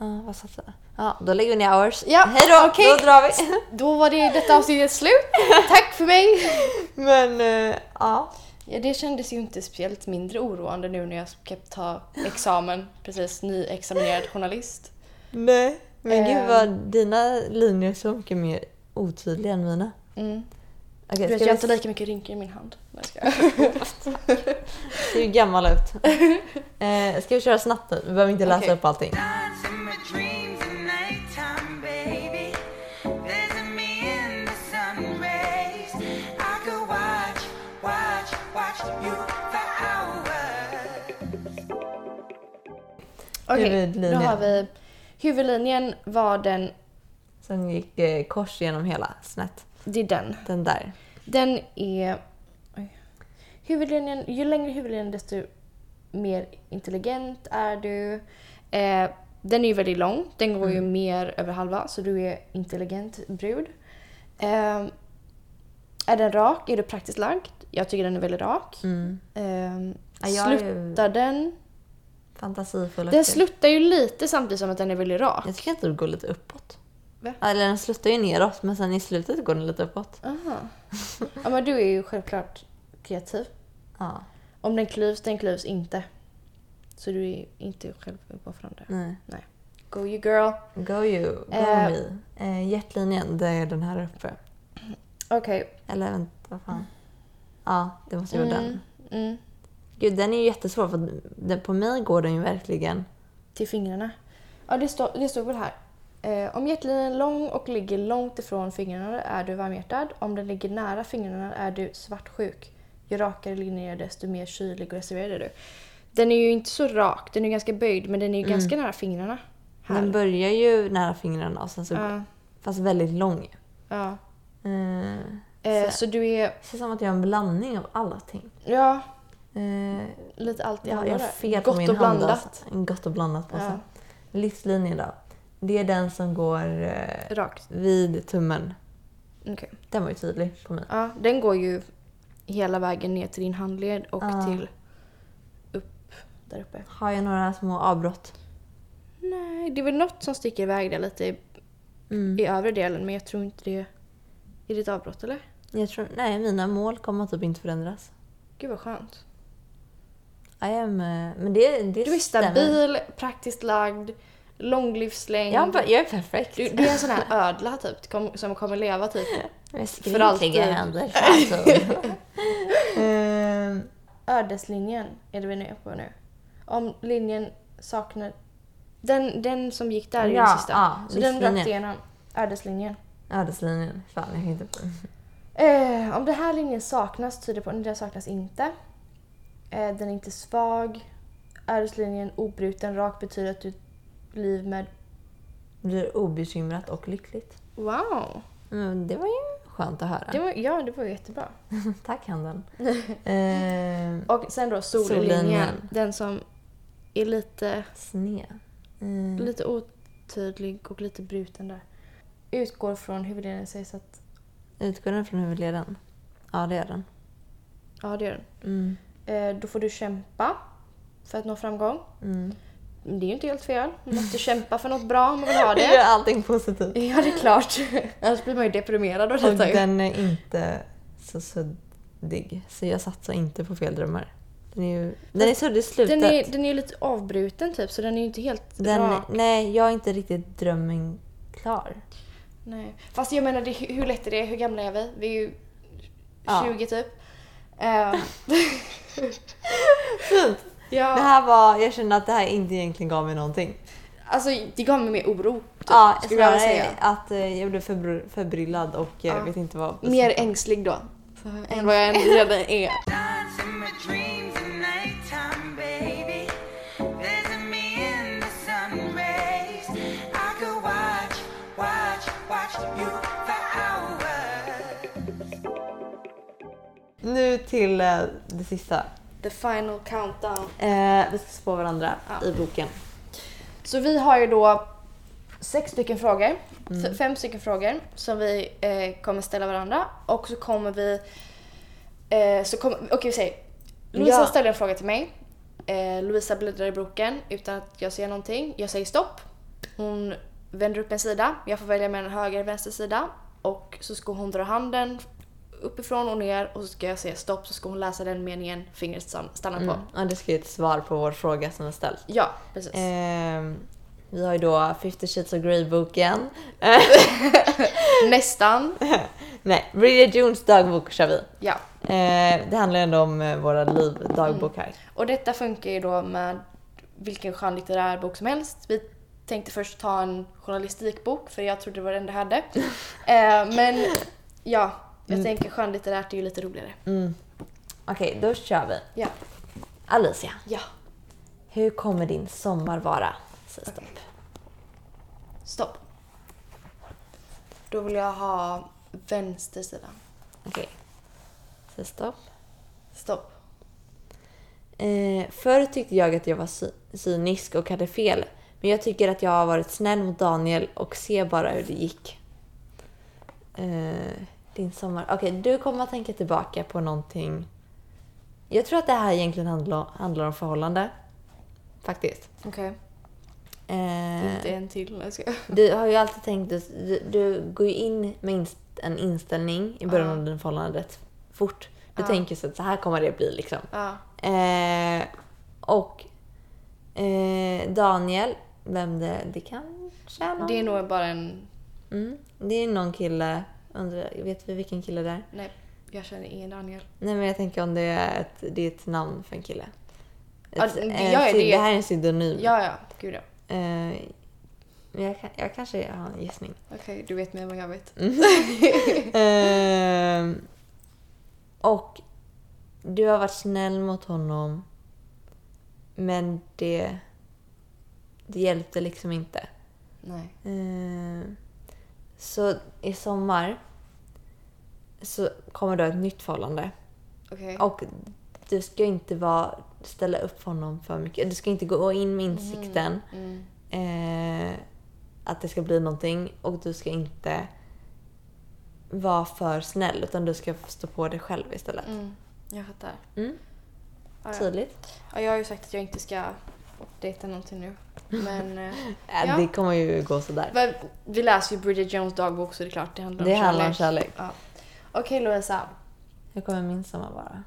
Ja, vad satsar jag? Ja, då lägger vi ner hours.
Ja,
Hej då!
okej.
Då drar vi!
Då var det detta avsnittet slut. Tack för mig!
[laughs] Men, eh, ja.
Ja, det kändes ju inte speciellt mindre oroande nu när jag ska ta examen. Precis, nyexaminerad journalist.
Nej. Men
Ehm.
gud vad dina linjer är så mycket mer otydliga än mina.
Mm.
Okej,
Du vet,
ska
jag
vi
har inte lika mycket rynkor i min hand. Nej, ska
[laughs]
jag.
ser ju gammal ut. Eh, ska vi köra snabbt nu? Vi behöver inte läsa
Okej.
upp allting.
Dance in my dreams at nighttime, baby. Visit me in the sun rays. I could watch, watch, watch you for hours.
Okej,
Huvudlinjen.
då har vi... Huvudlinjen var den
Sen gick eh, kors genom hela snett.
Det är den.
Den där.
Den är... oj. Huvudlinjen, ju längre huvudlinjen desto mer intelligent är du. Eh, den är ju väldigt lång. Den går
Mm.
ju mer över halva så du är intelligent brud. Eh, är den rak? Är du praktiskt lagd? Jag tycker den är väldigt rak.
Mm.
Eh,
Ja, jag är ju
sluttar den?
fantasifull och
Den
kul.
sluttar ju lite samtidigt som att den är väldigt rak.
Jag tycker inte det går lite uppåt.
Va?
Eller den slutar ju neråt men sen i slutet går den lite uppåt.
Aha. Ja men du är ju självklart kreativ.
Ja,
Om den klyvs, den klyvs inte. Så du är inte själv uppoffrande.
nej.
Go you girl.
Mm. Go you, go
Eh.
me. Eh, hjärtlinjen, det är den här uppe.
Okej.
Eller vänta, vad fan. Ja, det måste ju vara den.
Mm, mm.
Gud, den är ju jättesvår för den, på mig går den ju verkligen.
Till fingrarna. Ja, det står, det står väl här. Eh, om hjärtlinjen är lång och ligger långt ifrån fingrarna är du varmhjärtad. Om den ligger nära fingrarna är du svartsjuk. Ju rakare linjer desto mer kylig och reserverad är du. Den är ju inte så rak, den är ganska böjd men den är ju ganska nära fingrarna. Här.
Den börjar ju nära fingrarna och sen så,
Ja,
fast väldigt lång.
ja.
Eh,
Eh,
Så-
så du är,
det känns som att jag har en blandning av allting.
ja,
Eh,
lite allt
jag, jag har
blandat.
fel på
Gott
min
och
hand.
blandat.
Alltså. Gott och blandat på
Ja.
sig. Livslinjen då. Det är den som går eh,
Rakt.
vid tummen.
Okej.
Den var ju tydlig på mig.
Ja, den går ju hela vägen ner till din handled och
Ja.
till upp där uppe.
Har jag några små avbrott?
Nej, det är väl något som sticker iväg där lite i,
Mm.
i övre delen men jag tror inte det är ditt avbrott eller?
Jag tror, nej, mina mål kommer typ inte förändras.
Gud vad skönt.
I am, eh, men det, det
Du är
stämmer.
stabil, praktiskt lagd, lång livslängd.
Jag, bara, jag är perfekt.
du, du är en sån här ödla typ kom- som kommer leva typ.
jag är
för alltid.
skrynkliga [laughs] händer. Alltså. Ehm,
Ödeslinjen är det vi är nere på nu. Om linjen saknar... Den, den som gick där är
Ja,
den sista.
ja,
Så den
livslinjen.
rakt igenom. Ödeslinjen.
Ödeslinjen. Fan, jag kan inte...
Eh, om den här linjen saknas tyder det på att den saknas inte. Eh, den är inte svag. Ödeslinjen obruten rak betyder att du liv med...
Blir obekymrat och lyckligt.
Wow!
Mm, det var ju skönt att höra.
Det var, ja, det var ju jättebra.
Tack handen. Ehm,
Och sen då sollinjen.
Sollinjen.
Den som är lite,
Sne. Mm.
lite otydlig och lite bruten där. Utgår från huvudlinjen sägs att...
Utgår den från huvudleden? Ja, det gör den.
Ja, det gör den.
Mm.
Eh, då får du kämpa för att nå framgång.
Mm.
Det är ju inte helt fel. Man
[laughs]
måste kämpa för något bra om man vill ha det.
Gör allting positivt.
Ja, det är klart. [laughs] Annars blir man ju deprimerad av
Och
detta ju.
den är inte så suddig, så jag satsar inte på fel drömmar. Den är, ju, den är suddig i slutet.
Den är, den är ju lite avbruten typ, så den är ju inte helt
Den,
rak.
nej, jag är inte riktigt drömmen klar.
Nej. Fast jag menar, det, hur hur lätt är det? Hur gamla är vi? Vi är ju
Ja.
20 typ.
[laughs]
Eh,
Fint! [laughs] Det
ja,
här var, jag känner att det här inte egentligen gav mig någonting.
alltså det gav mig mer oro. Typ,
ja,
skulle jag
snarare
vilja säga.
att eh, jag blev förbr- förbryllad och eh,
Ja.
vet inte vad...
Mer ängslig då. Än vad
[laughs]
jag redan är.
Dance in my dreams at nighttime, baby. Visit me in the sun rays. I could watch, watch, watch you for hours.
Nu till eh, det sista.
The final countdown.
Eh, vi ska spå varandra i boken.
Så vi har ju då sex stycken frågor,
Mm.
f- fem stycken frågor som vi eh, kommer ställa varandra och så kommer vi... Eh, så kommer, okej vi säger, Lovisa
Ja.
ställer en fråga till mig. Eh, Lovisa bläddrar i boken utan att jag säger någonting. Jag säger stopp. Hon vänder upp en sida. Jag får välja mellan höger eller vänster sida. Och så ska hon dra handen uppifrån och ner och så ska jag säga stopp så ska hon läsa den meningen fingret stan- stannar på.
Mm. Ja, det ska ju ett svar på vår fråga som är ställd.
Ja, precis.
Ehm, vi har ju då 50 Shades of Grey-boken. Eh,
Nästan.
[laughs] Nej, Bridget Jones dagbok kör vi.
Ja.
Ehm, det handlar ju ändå om eh, våra liv,
Mm.
dagbok här.
Och detta funkar ju då med vilken skönlitterär bok som helst. Vi tänkte först ta en journalistikbok för jag trodde det var den det [laughs] hade. eh, men ja, jag tänker skönlitterärt är ju lite roligare.
Okej, då kör vi.
Ja,
Alicia,
ja,
hur kommer din sommar vara? Säg stopp.
stopp. Då vill jag ha vänster sida.
Okej. Så stopp.
Stopp.
Eh, förr tyckte jag att jag var cy- cynisk och hade fel. Men jag tycker att jag har varit snäll mot Daniel och ser bara hur det gick. Eh, din sommar. Okej, du kommer att tänka tillbaka på någonting. Jag tror att det här egentligen handlar, handlar om förhållande. Faktiskt.
Okej.
Eh,
Inte en till. Jag ska...
du har ju alltid tänkt, du, du går ju in med inst- en inställning i början
Ja.
av din förhållande rätt fort. Du
Ja.
tänker så att så här kommer det bli liksom.
Ja.
Eh, och eh, Daniel, vem det, det kanske är någon.
Det är nog bara en...
mm, det är någon kille. Undrar, vet vi vilken kille det är?
Nej, jag känner ingen Daniel.
Nej men jag tänker om det är ett, det är ett namn för en kille.
Ja,
Ett-
det-
en
ja,
sy-
Alltså, det-
det här är en pseudonym.
Ja, ja. Gud ja.
Eh, men jag, kan- jag kanske har en gissning.
Okej, du vet mer än vad jag vet.
Ehm, och du har varit snäll mot honom. Men det, det hjälpte liksom inte.
Nej.
Ehm, så i sommar så kommer du ha ett nytt förhållande.
Okej.
Och du ska inte vara, ställa upp för honom för mycket. Du ska inte gå in med insikten
Mm.
eh, att det ska bli någonting och du ska inte vara för snäll utan du ska stå på dig själv istället.
Mm. Jag fattar.
Mm.
Ja, ja.
Tydligt?
Ja, jag har ju sagt att jag inte ska dejta någonting [laughs] nu. Men eh,
Äh,
Ja.
Det kommer ju gå sådär.
men vi läser ju Bridget Jones dagbok så det är klart det handlar om
Det
kärlek.
handlar om kärlek.
Ja. Okej Lovisa,
Hur kommer min sommar vara?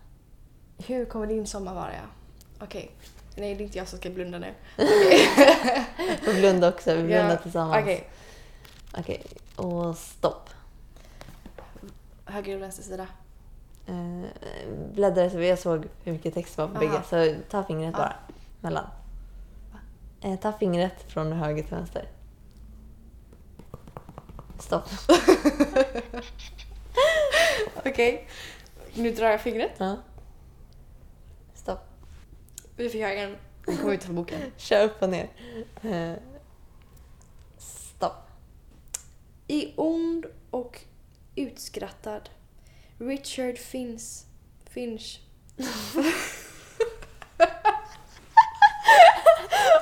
hur kommer din sommar vara? ja? Okej, nej det är inte jag som ska blunda nu. [laughs]
Och blunda också, vi blundar
Ja,
tillsammans.
Okej,
Okej, och stopp.
höger och vänster sida.
Eh, bläddrade så jag såg hur mycket text det var på bägge.
Aha.
Så ta fingret
Ja.
bara. Mellan. Eh, ta fingret från höger till vänster. Stopp.
Okej, nu drar jag fingret.
Ja. Stopp.
Vi får göra en. Vi kommer inte få boken.
Kör upp och ner. Eh, stopp. [laughs]
I ond och utskrattad. Richard Finch. Finch.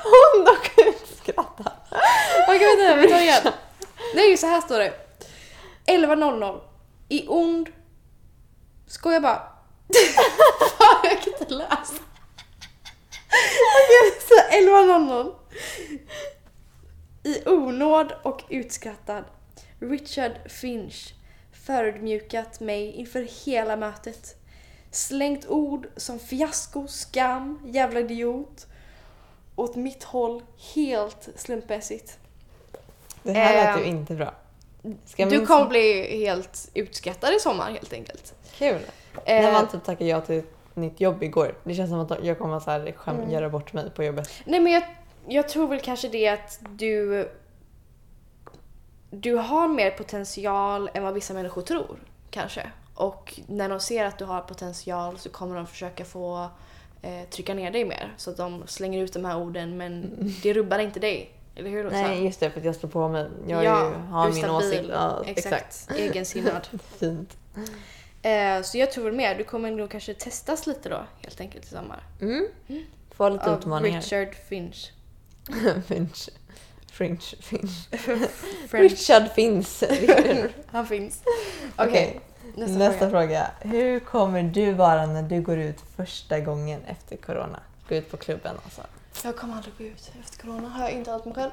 Hon dock skratta.
Okej vänta, vi tar igen. Nej, så här står det. 11.00. I ond... Skoja bara. [laughs] Fan, jag kan inte läsa. Okej, så 11.00. I onåd och utskrattad. Richard Finch förödmjukat mig inför hela mötet. Slängt ord som fiasko, skam, jävla idiot åt mitt håll helt slumpmässigt.
Det här lät ju
Ehm,
inte bra. Ska
Du
min-
kommer bli helt utskattad i sommar helt enkelt.
Kul.
Eh,
När man typ tackade ja till ett nytt jobb igår. Det känns som att jag kommer så här skäm-
Mm.
göra bort mig på jobbet.
Nej men jag, jag tror väl kanske det att du... Du har mer potential än vad vissa människor tror. Kanske. Och när de ser att du har potential så kommer de försöka få eh, trycka ner dig mer. Så att de slänger ut de här orden men det rubbar inte dig. Eller hur Lojsan?
Mm. Nej, just det. För att jag står på mig. Jag
Ja,
är ju, har
du är
min
stabil.
åsikt. Ja,
Exakt. Egensinnad.
Fint.
Eh, så jag tror väl mer, du kommer nog kanske testas lite då helt enkelt i sommar.
Mm. Få lite
Av
utmaningar.
Richard Finch.
[laughs] Finch. Fringe. Finch.
French.
Richard finns. [laughs] Okej,
Han
[laughs]
finns. [laughs] Okej, nästa,
nästa, fråga. Hur kommer du vara när du går ut första gången efter corona? Gå ut på klubben alltså.
Jag kommer aldrig gå ut efter corona, har jag inte allt mig själv.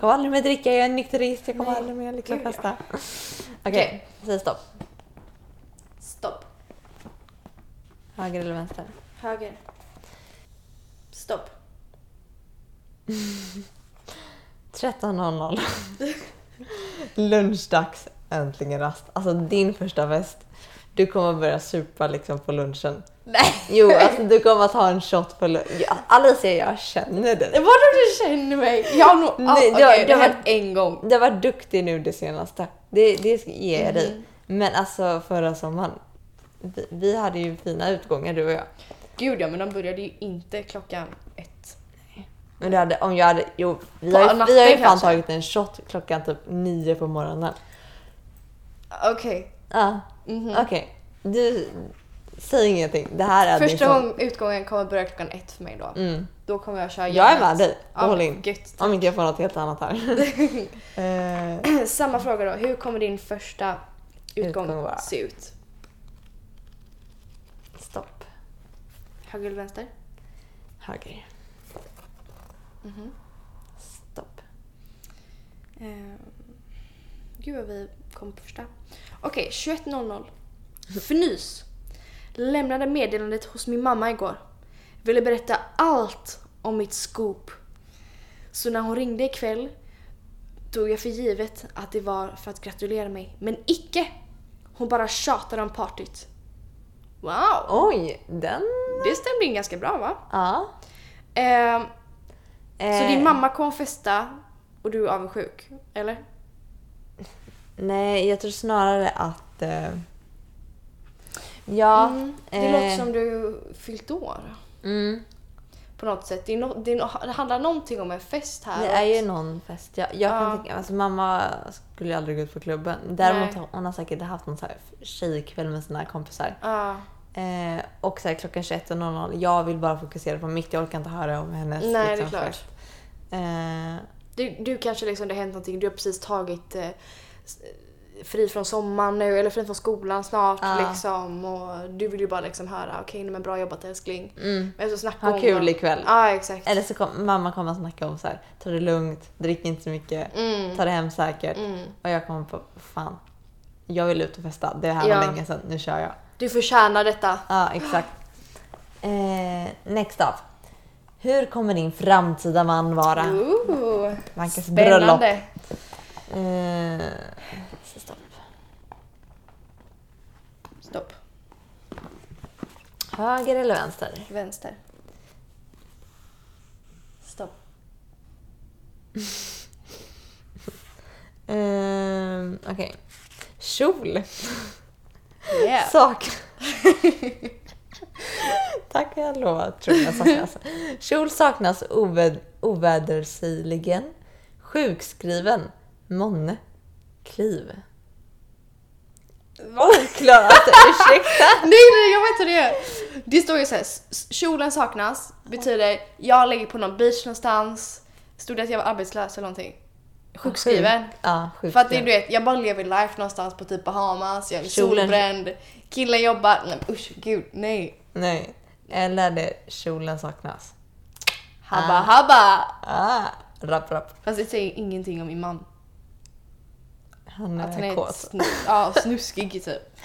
Kom aldrig med dricka, jag är nykterist. Jag kommer
Nej,
aldrig med lyckliga
gud, ja.
festa. Okej,
Okej.
säg stopp.
Stopp.
Höger eller vänster?
Höger. Stopp.
13.00. Lunchdags, äntligen rast. Alltså din första fest. Du kommer börja supa liksom på lunchen.
Nej!
Jo, alltså du kommer att ha en shot på lunchen. Ja, Alicia, jag känner dig.
Vadå du känner mig? Jag har nog... Ah,
Nej,
Okej,
det
det
har-
har
det har-
hänt en gång.
Du har varit duktig nu det senaste. Det, det ska- ger jag
Mm.
dig. Men alltså förra sommaren. Vi, vi hade ju fina utgångar du och jag.
Gud ja, men de började ju inte klockan ett.
Men du hade, om jag hade, jo, vi
På
har, ju-
natten
vi har ju fan
kanske.
tagit en shot klockan typ nio på morgonen.
Okej.
Ja,
Mhm.
okej. Du, säg ingenting. Det här är
Första
din sån-
gång, utgången kommer börja klockan ett för mig då.
Mm.
Då kommer jag köra
Jag är
järnet.
med dig.
Ja,
All in.
gött. [clears throat]
Om inte jag får något helt annat här.
[laughs]
Eh,
Samma fråga då. Hur kommer din första utgång
Utgång vara?
se ut?
stopp.
Höger eller vänster?
Höger.
Mhm.
Stopp.
Eh, gud vad vi kom på första. Okej, 21.00. Fnys. Lämnade meddelandet hos min mamma igår. Ville berätta allt om mitt scoop. Så när hon ringde ikväll tog jag för givet att det var för att gratulera mig. Men icke! Hon bara tjatade om partyt. Wow!
Oj, den...
Det stämde in ganska bra va?
Ja.
Ehm, så
Eh,
din mamma kom festa och du är avundsjuk? Eller?
Nej, jag tror snarare att... eh, Ja.
Mm, det
eh,
låter som du fyllt år
Mm,
på något sätt. Det, är no, det, är no, det handlar någonting om en fest här.
det är ju någon fest. Jag, jag
Ja.
kan tänka alltså, Mamma skulle ju aldrig gå ut på klubben. Däremot
Nej.
hon har säkert haft någon så här tjejkväll med sina kompisar.
Ja,
Eh, och så här, klockan 21.00, jag vill bara fokusera på mitt. Jag orkar inte höra om hennes liksom
Nej, det är klart.
fest. Eh,
du, du kanske liksom, det har hänt någonting. Du har precis tagit eh, s- fri från sommaren nu eller fri från skolan snart
Ja.
liksom. Och du vill ju bara liksom höra okej nej, men bra jobbat älskling.
mm.
Men så snackar
Ha
hon
kul
om-
ikväll.
Ja exakt.
Eller så kom, mamma kommer att snacka om så här, ta det lugnt, drick inte så mycket,
Mm.
ta det hem säkert.
Mm.
Och jag kommer på, fan, jag vill ut och festa. Det här
Ja.
var länge sedan, nu kör jag.
Du förtjänar detta.
Ja,
[gasps]
exakt. Eh, next up. Hur kommer din framtida man vara?
Ooh,
Vankas bröllop.
spännande.
Eh, stopp.
Stopp.
Höger eller vänster?
Vänster. Stopp.
Eh, Okej. Kjol.
Yeah.
Sak. [laughs] Tack och jag lovar, tror jag saknas. Kjol saknas ovä- ovädersägligen. Sjukskriven. Månne. Kliv. Oklar, alltså ursäkta.
Nej, nej, jag vet hur det är. Det står ju såhär, kjolen saknas, betyder jag lägger på någon beach någonstans. Stod det att jag var arbetslös eller någonting? Sjukskriven.
Ja, sjukskriven.
För att det, är, du vet, jag bara lever life någonstans på typ Bahamas, jag är
Kjolen-
solbränd, killen jobbar. Nej men usch, gud, nej.
Nej. Eller det kjolen saknas.
Habba habba!
Ah, rapp rapp.
Fast det säger ingenting om min man.
Han
Att han
är
är
kåt.
snu, ja, snuskig typ.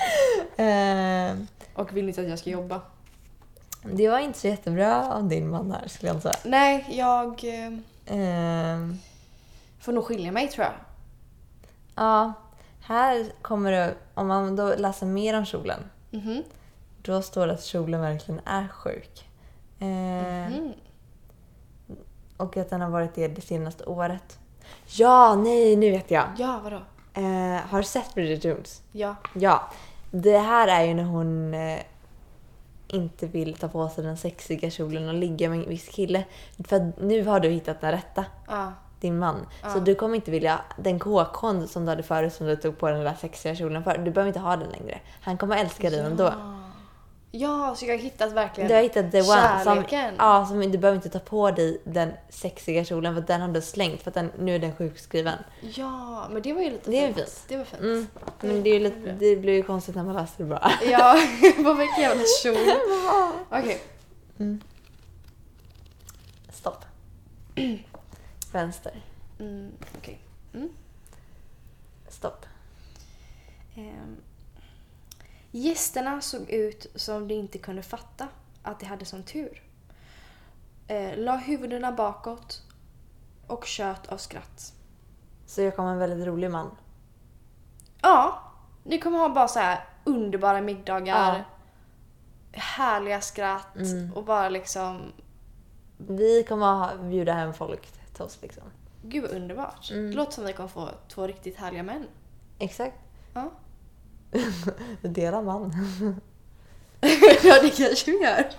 Eh,
Och vill inte att jag ska jobba.
det var inte så jättebra av din man här skulle jag säga.
Nej, jag eh,
Ehm,
får nog skilja mig tror jag.
Ja, här kommer det, om man då läser mer om kjolen,
Mhm.
då står det att kjolen verkligen är sjuk. Eh,
Mm.
Och att den har varit det det senaste året. Ja, nej, nu vet jag!
Ja, vadå?
Eh, har du sett Bridget Jones?
Ja.
Ja. Det här är ju när hon eh, inte vill ta på sig den sexiga kjolen och ligga med en viss kille. För att nu har du hittat den rätta.
ja.
din man. Så du kommer inte vilja, den KKn som du hade förut som du tog på den där sexiga kjolen för, du behöver inte ha den längre. Han kommer älska dig ändå.
Ja, så jag har hittat verkligen
Du har hittat the one som,
kärleken.
ja, som du behöver inte ta på dig den sexiga kjolen för den har du slängt för att den, nu är den sjukskriven.
Ja, men det var ju lite
Det är
fint.
fint.
Det var fint.
Mm. Men det, är ju lite,
Mm.
det blir ju konstigt när man läser det bara.
[laughs] Ja, [laughs] vad vilken jävla kjol. Okej,
Stopp. [clears throat] Vänster.
mm, okej.
Stopp.
Ehm, Gästerna såg ut som de inte kunde fatta att de hade sån tur. Eh, la huvudena bakåt och tjöt av skratt.
Så jag kommer en väldigt rolig man.
Ja, ni kommer ha bara så här underbara middagar. Härliga skratt
Mm.
och bara liksom
Vi kommer ha- bjuda hem folk till oss liksom.
Gud vad underbart.
Mm.
Det låter som vi kommer få två riktigt härliga män.
Exakt. [laughs]
Ja,
Dela man.
[laughs] ja det kanske vi gör.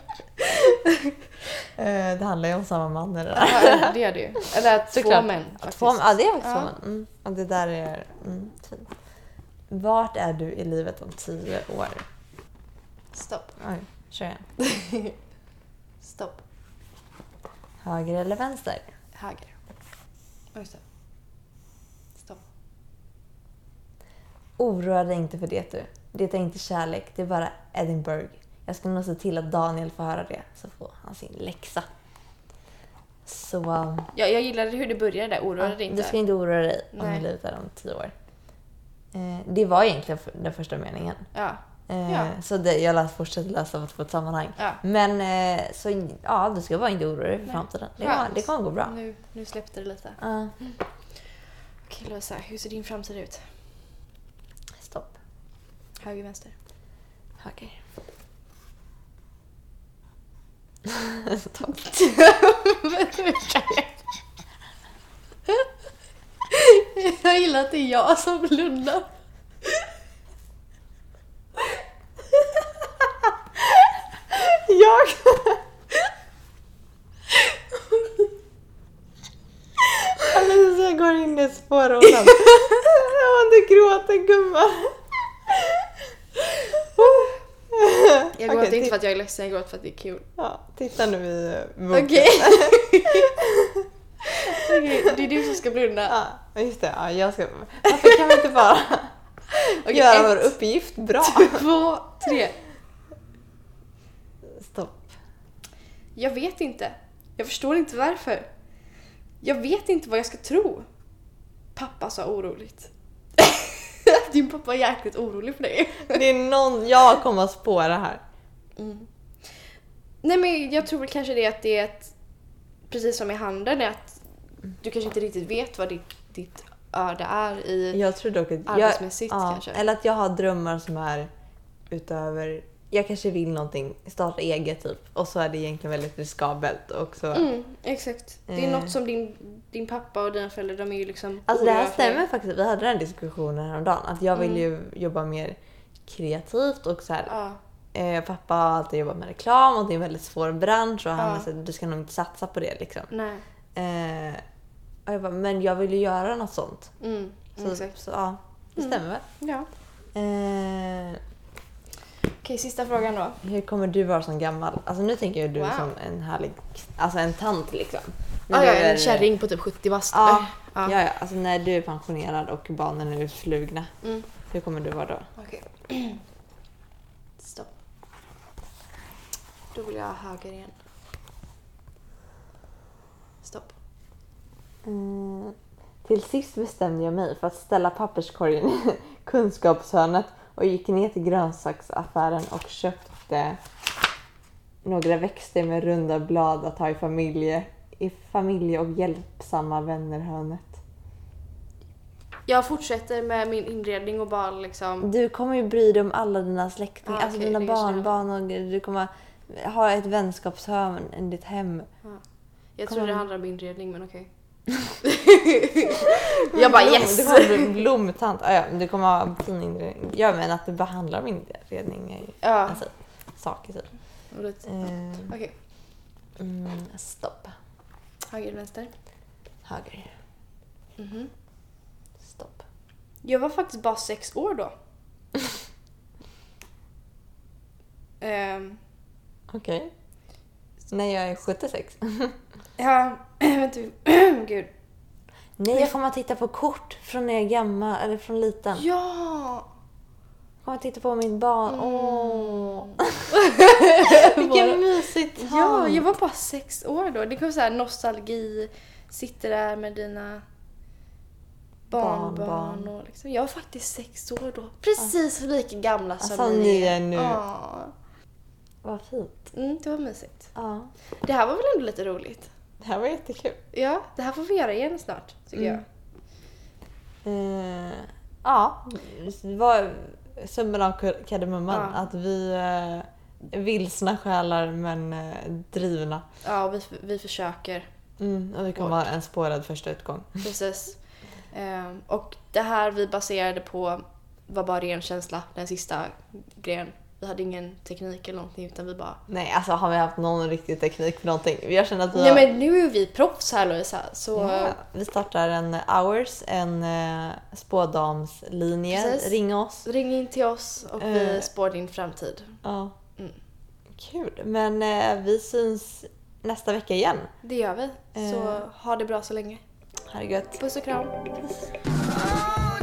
Eh, Det handlar ju om samma man. Eller?
Ja, det gör det ju. Eller att två
Såklart.
män
Ja,
faktiskt.
Två, ja, det är faktiskt
Ja.
två män. Mm. Ja, det där är mm, fint. Vart är du i livet om tio år?
Stopp. [laughs]
Oj, kör igen.
Stopp.
Höger eller vänster?
Höger. Ja, Just det. Stopp.
Oroa dig inte för det du. Det är inte kärlek, det är bara Edinburgh. Jag ska nog se till att Daniel får höra det, så får han sin läxa. Så... um,
Jag, jag gillade hur det började där. Oroa dig inte.
Du ska inte oroa dig om
Nej.
hur livet är om tio år. Eh, det var egentligen för- den första meningen.
Ja.
Eh,
Ja.
Så det, jag läs, fortsätter läsa för att få ett sammanhang.
ja.
Men eh, så ja, du ska bara inte oroa dig för
Nej.
framtiden. Det kommer,
Skönt.
det kommer gå bra.
Nu, nu släppte det lite.
Ja.
Okej Lovisa, hur ser din framtid ut? [laughs]
stopp.
Höger, vänster?
Okej. stopp.
[laughs] jag gillar att det är jag som blundar.
Jag... Alicia går in i ett [laughs] spårhålan. Hon inte gråter gumman.
Jag gråter
Okej,
inte
ti-
för att jag är ledsen, jag gråter för att det är kul.
ja, Titta nu i eh, boken.
Okej. [laughs] Okej, det är du som ska blunda.
[laughs] Ja, just det. Ja, jag ska... Varför kan vi inte bara
Okej,
göra
ett,
vår uppgift bra?
två, tre.
Stopp.
Jag vet inte. Jag förstår inte varför. Jag vet inte vad jag ska tro. Pappa sa oroligt. [laughs] Din pappa är jäkligt orolig för dig.
Det är någon... Jag kommer att spåra här.
Nej men jag tror väl kanske det att det är ett, precis som i handeln, är att du kanske inte riktigt vet vad ditt, ditt öde är i...
Jag tror dock att...
Arbetsmässigt
jag,
kanske.
Eller att jag har drömmar som är utöver... Jag kanske vill någonting, starta eget typ. Och så är det egentligen väldigt riskabelt. Och så,
Mm, exakt. Det är
Eh.
något som din, din pappa och dina föräldrar, de är Mm. ju liksom
Alltså det här
oroliga för dig.
stämmer faktiskt. Vi hade den här diskussionen häromdagen. Att jag vill ju jobba mer kreativt och så här.
Ja,
Eh, pappa har alltid jobbat med reklam och det är en väldigt svår bransch och han
Ja.
har sagt du ska nog inte satsa på det liksom.
nej.
Eh, och jag bara, men jag vill ju göra något sånt.
Mm,
Så,
exakt. Mm.
så ja, det stämmer väl.
Ja.
Eh,
Okej, sista frågan då.
hur kommer du vara som gammal? Alltså nu tänker jag du
Wow.
som en härlig, alltså en tant liksom. När
Ah,
du
ja,
är-
en kärring på typ 70 bast.
Ja,
Ja.
ja. ja, alltså när du är pensionerad och barnen är utflugna.
Mm.
Hur kommer du vara då?
Okej. [clears throat] Stopp. Då vill jag ha höger igen. Stopp.
Mm. Till sist bestämde jag mig för att ställa papperskorgen i [laughs] kunskapshörnet och gick ner till grönsaksaffären och köpte några växter med runda blad att ha i familje, i familje och hjälpsamma vännerhörnet.
Jag fortsätter med min inredning och bara liksom...
Du kommer ju bry dig om alla dina släktingar,
Ja,
alltså
Ah, okej,
dina
det kanske
barnbarn och du kommer ha ett vänskapshörn i ditt hem.
Jag
Kom
tror det
igen.
handlar om inredning men [laughs] okej. jag bara
Blom-
yes!
Du kommer bli blomtant. Ah, Ja, ja, du kommer ha fin inredning. Ja, men att du behandlar min inredning är ju
Ja.
alltså, saker typ.
och lite-
Eh,
Okej,
mm, stopp.
höger vänster.
Höger.
Mhm.
Stopp.
Jag var faktiskt bara sex år [laughs] då. Ehm,
Okej. Nej, jag är 76.
ja, [clears throat] vänta. Gud.
[laughs] Nej, jag kommer att titta på kort från när jag är gammal, eller från liten.
Ja!
Jag kommer att titta på mitt barn.
Mm.
Åh! Vilken mysig tant!
Ja, jag var bara sex år då. Det kom så här nostalgi, sitter där med dina barnbarn.
Barnbarn.
Och liksom. Jag var faktiskt sex år då. Precis lika gamla som
Som Alltså, ni är nu.
Alltså, Ja.
Vad fint.
Mm, det var mysigt.
Ja.
Det här var väl ändå lite roligt?
Det här var jättekul.
Ja, det här får vi göra igen snart
Mm.
tycker jag.
Eh, ja, det var Mm. summan av kur- kardemumman.
Ja.
Att vi eh, är vilsna själar men eh, drivna.
Ja, och vi, vi försöker.
Mm, och vi kommer ha en spårad första utgång.
Precis. Ehm, och det här vi baserade på var bara ren känsla, den sista grejen vi Vi hade ingen teknik eller någonting utan vi bara...
Nej, alltså har vi haft någon riktig teknik för någonting? Jag känner att vi
Nej
har...
men nu är vi proffs här Lovisa så...
Ja, vi startar en eh, hours, en eh, spådamslinje.
Precis.
Ring oss.
Ring in till oss och vi
Eh.
spår din framtid.
Ja.
Mm.
Kul, men eh, vi syns nästa vecka igen.
Det gör vi. Så
Eh.
ha det bra så länge.
Ha det gött.
Puss och kram.
Oh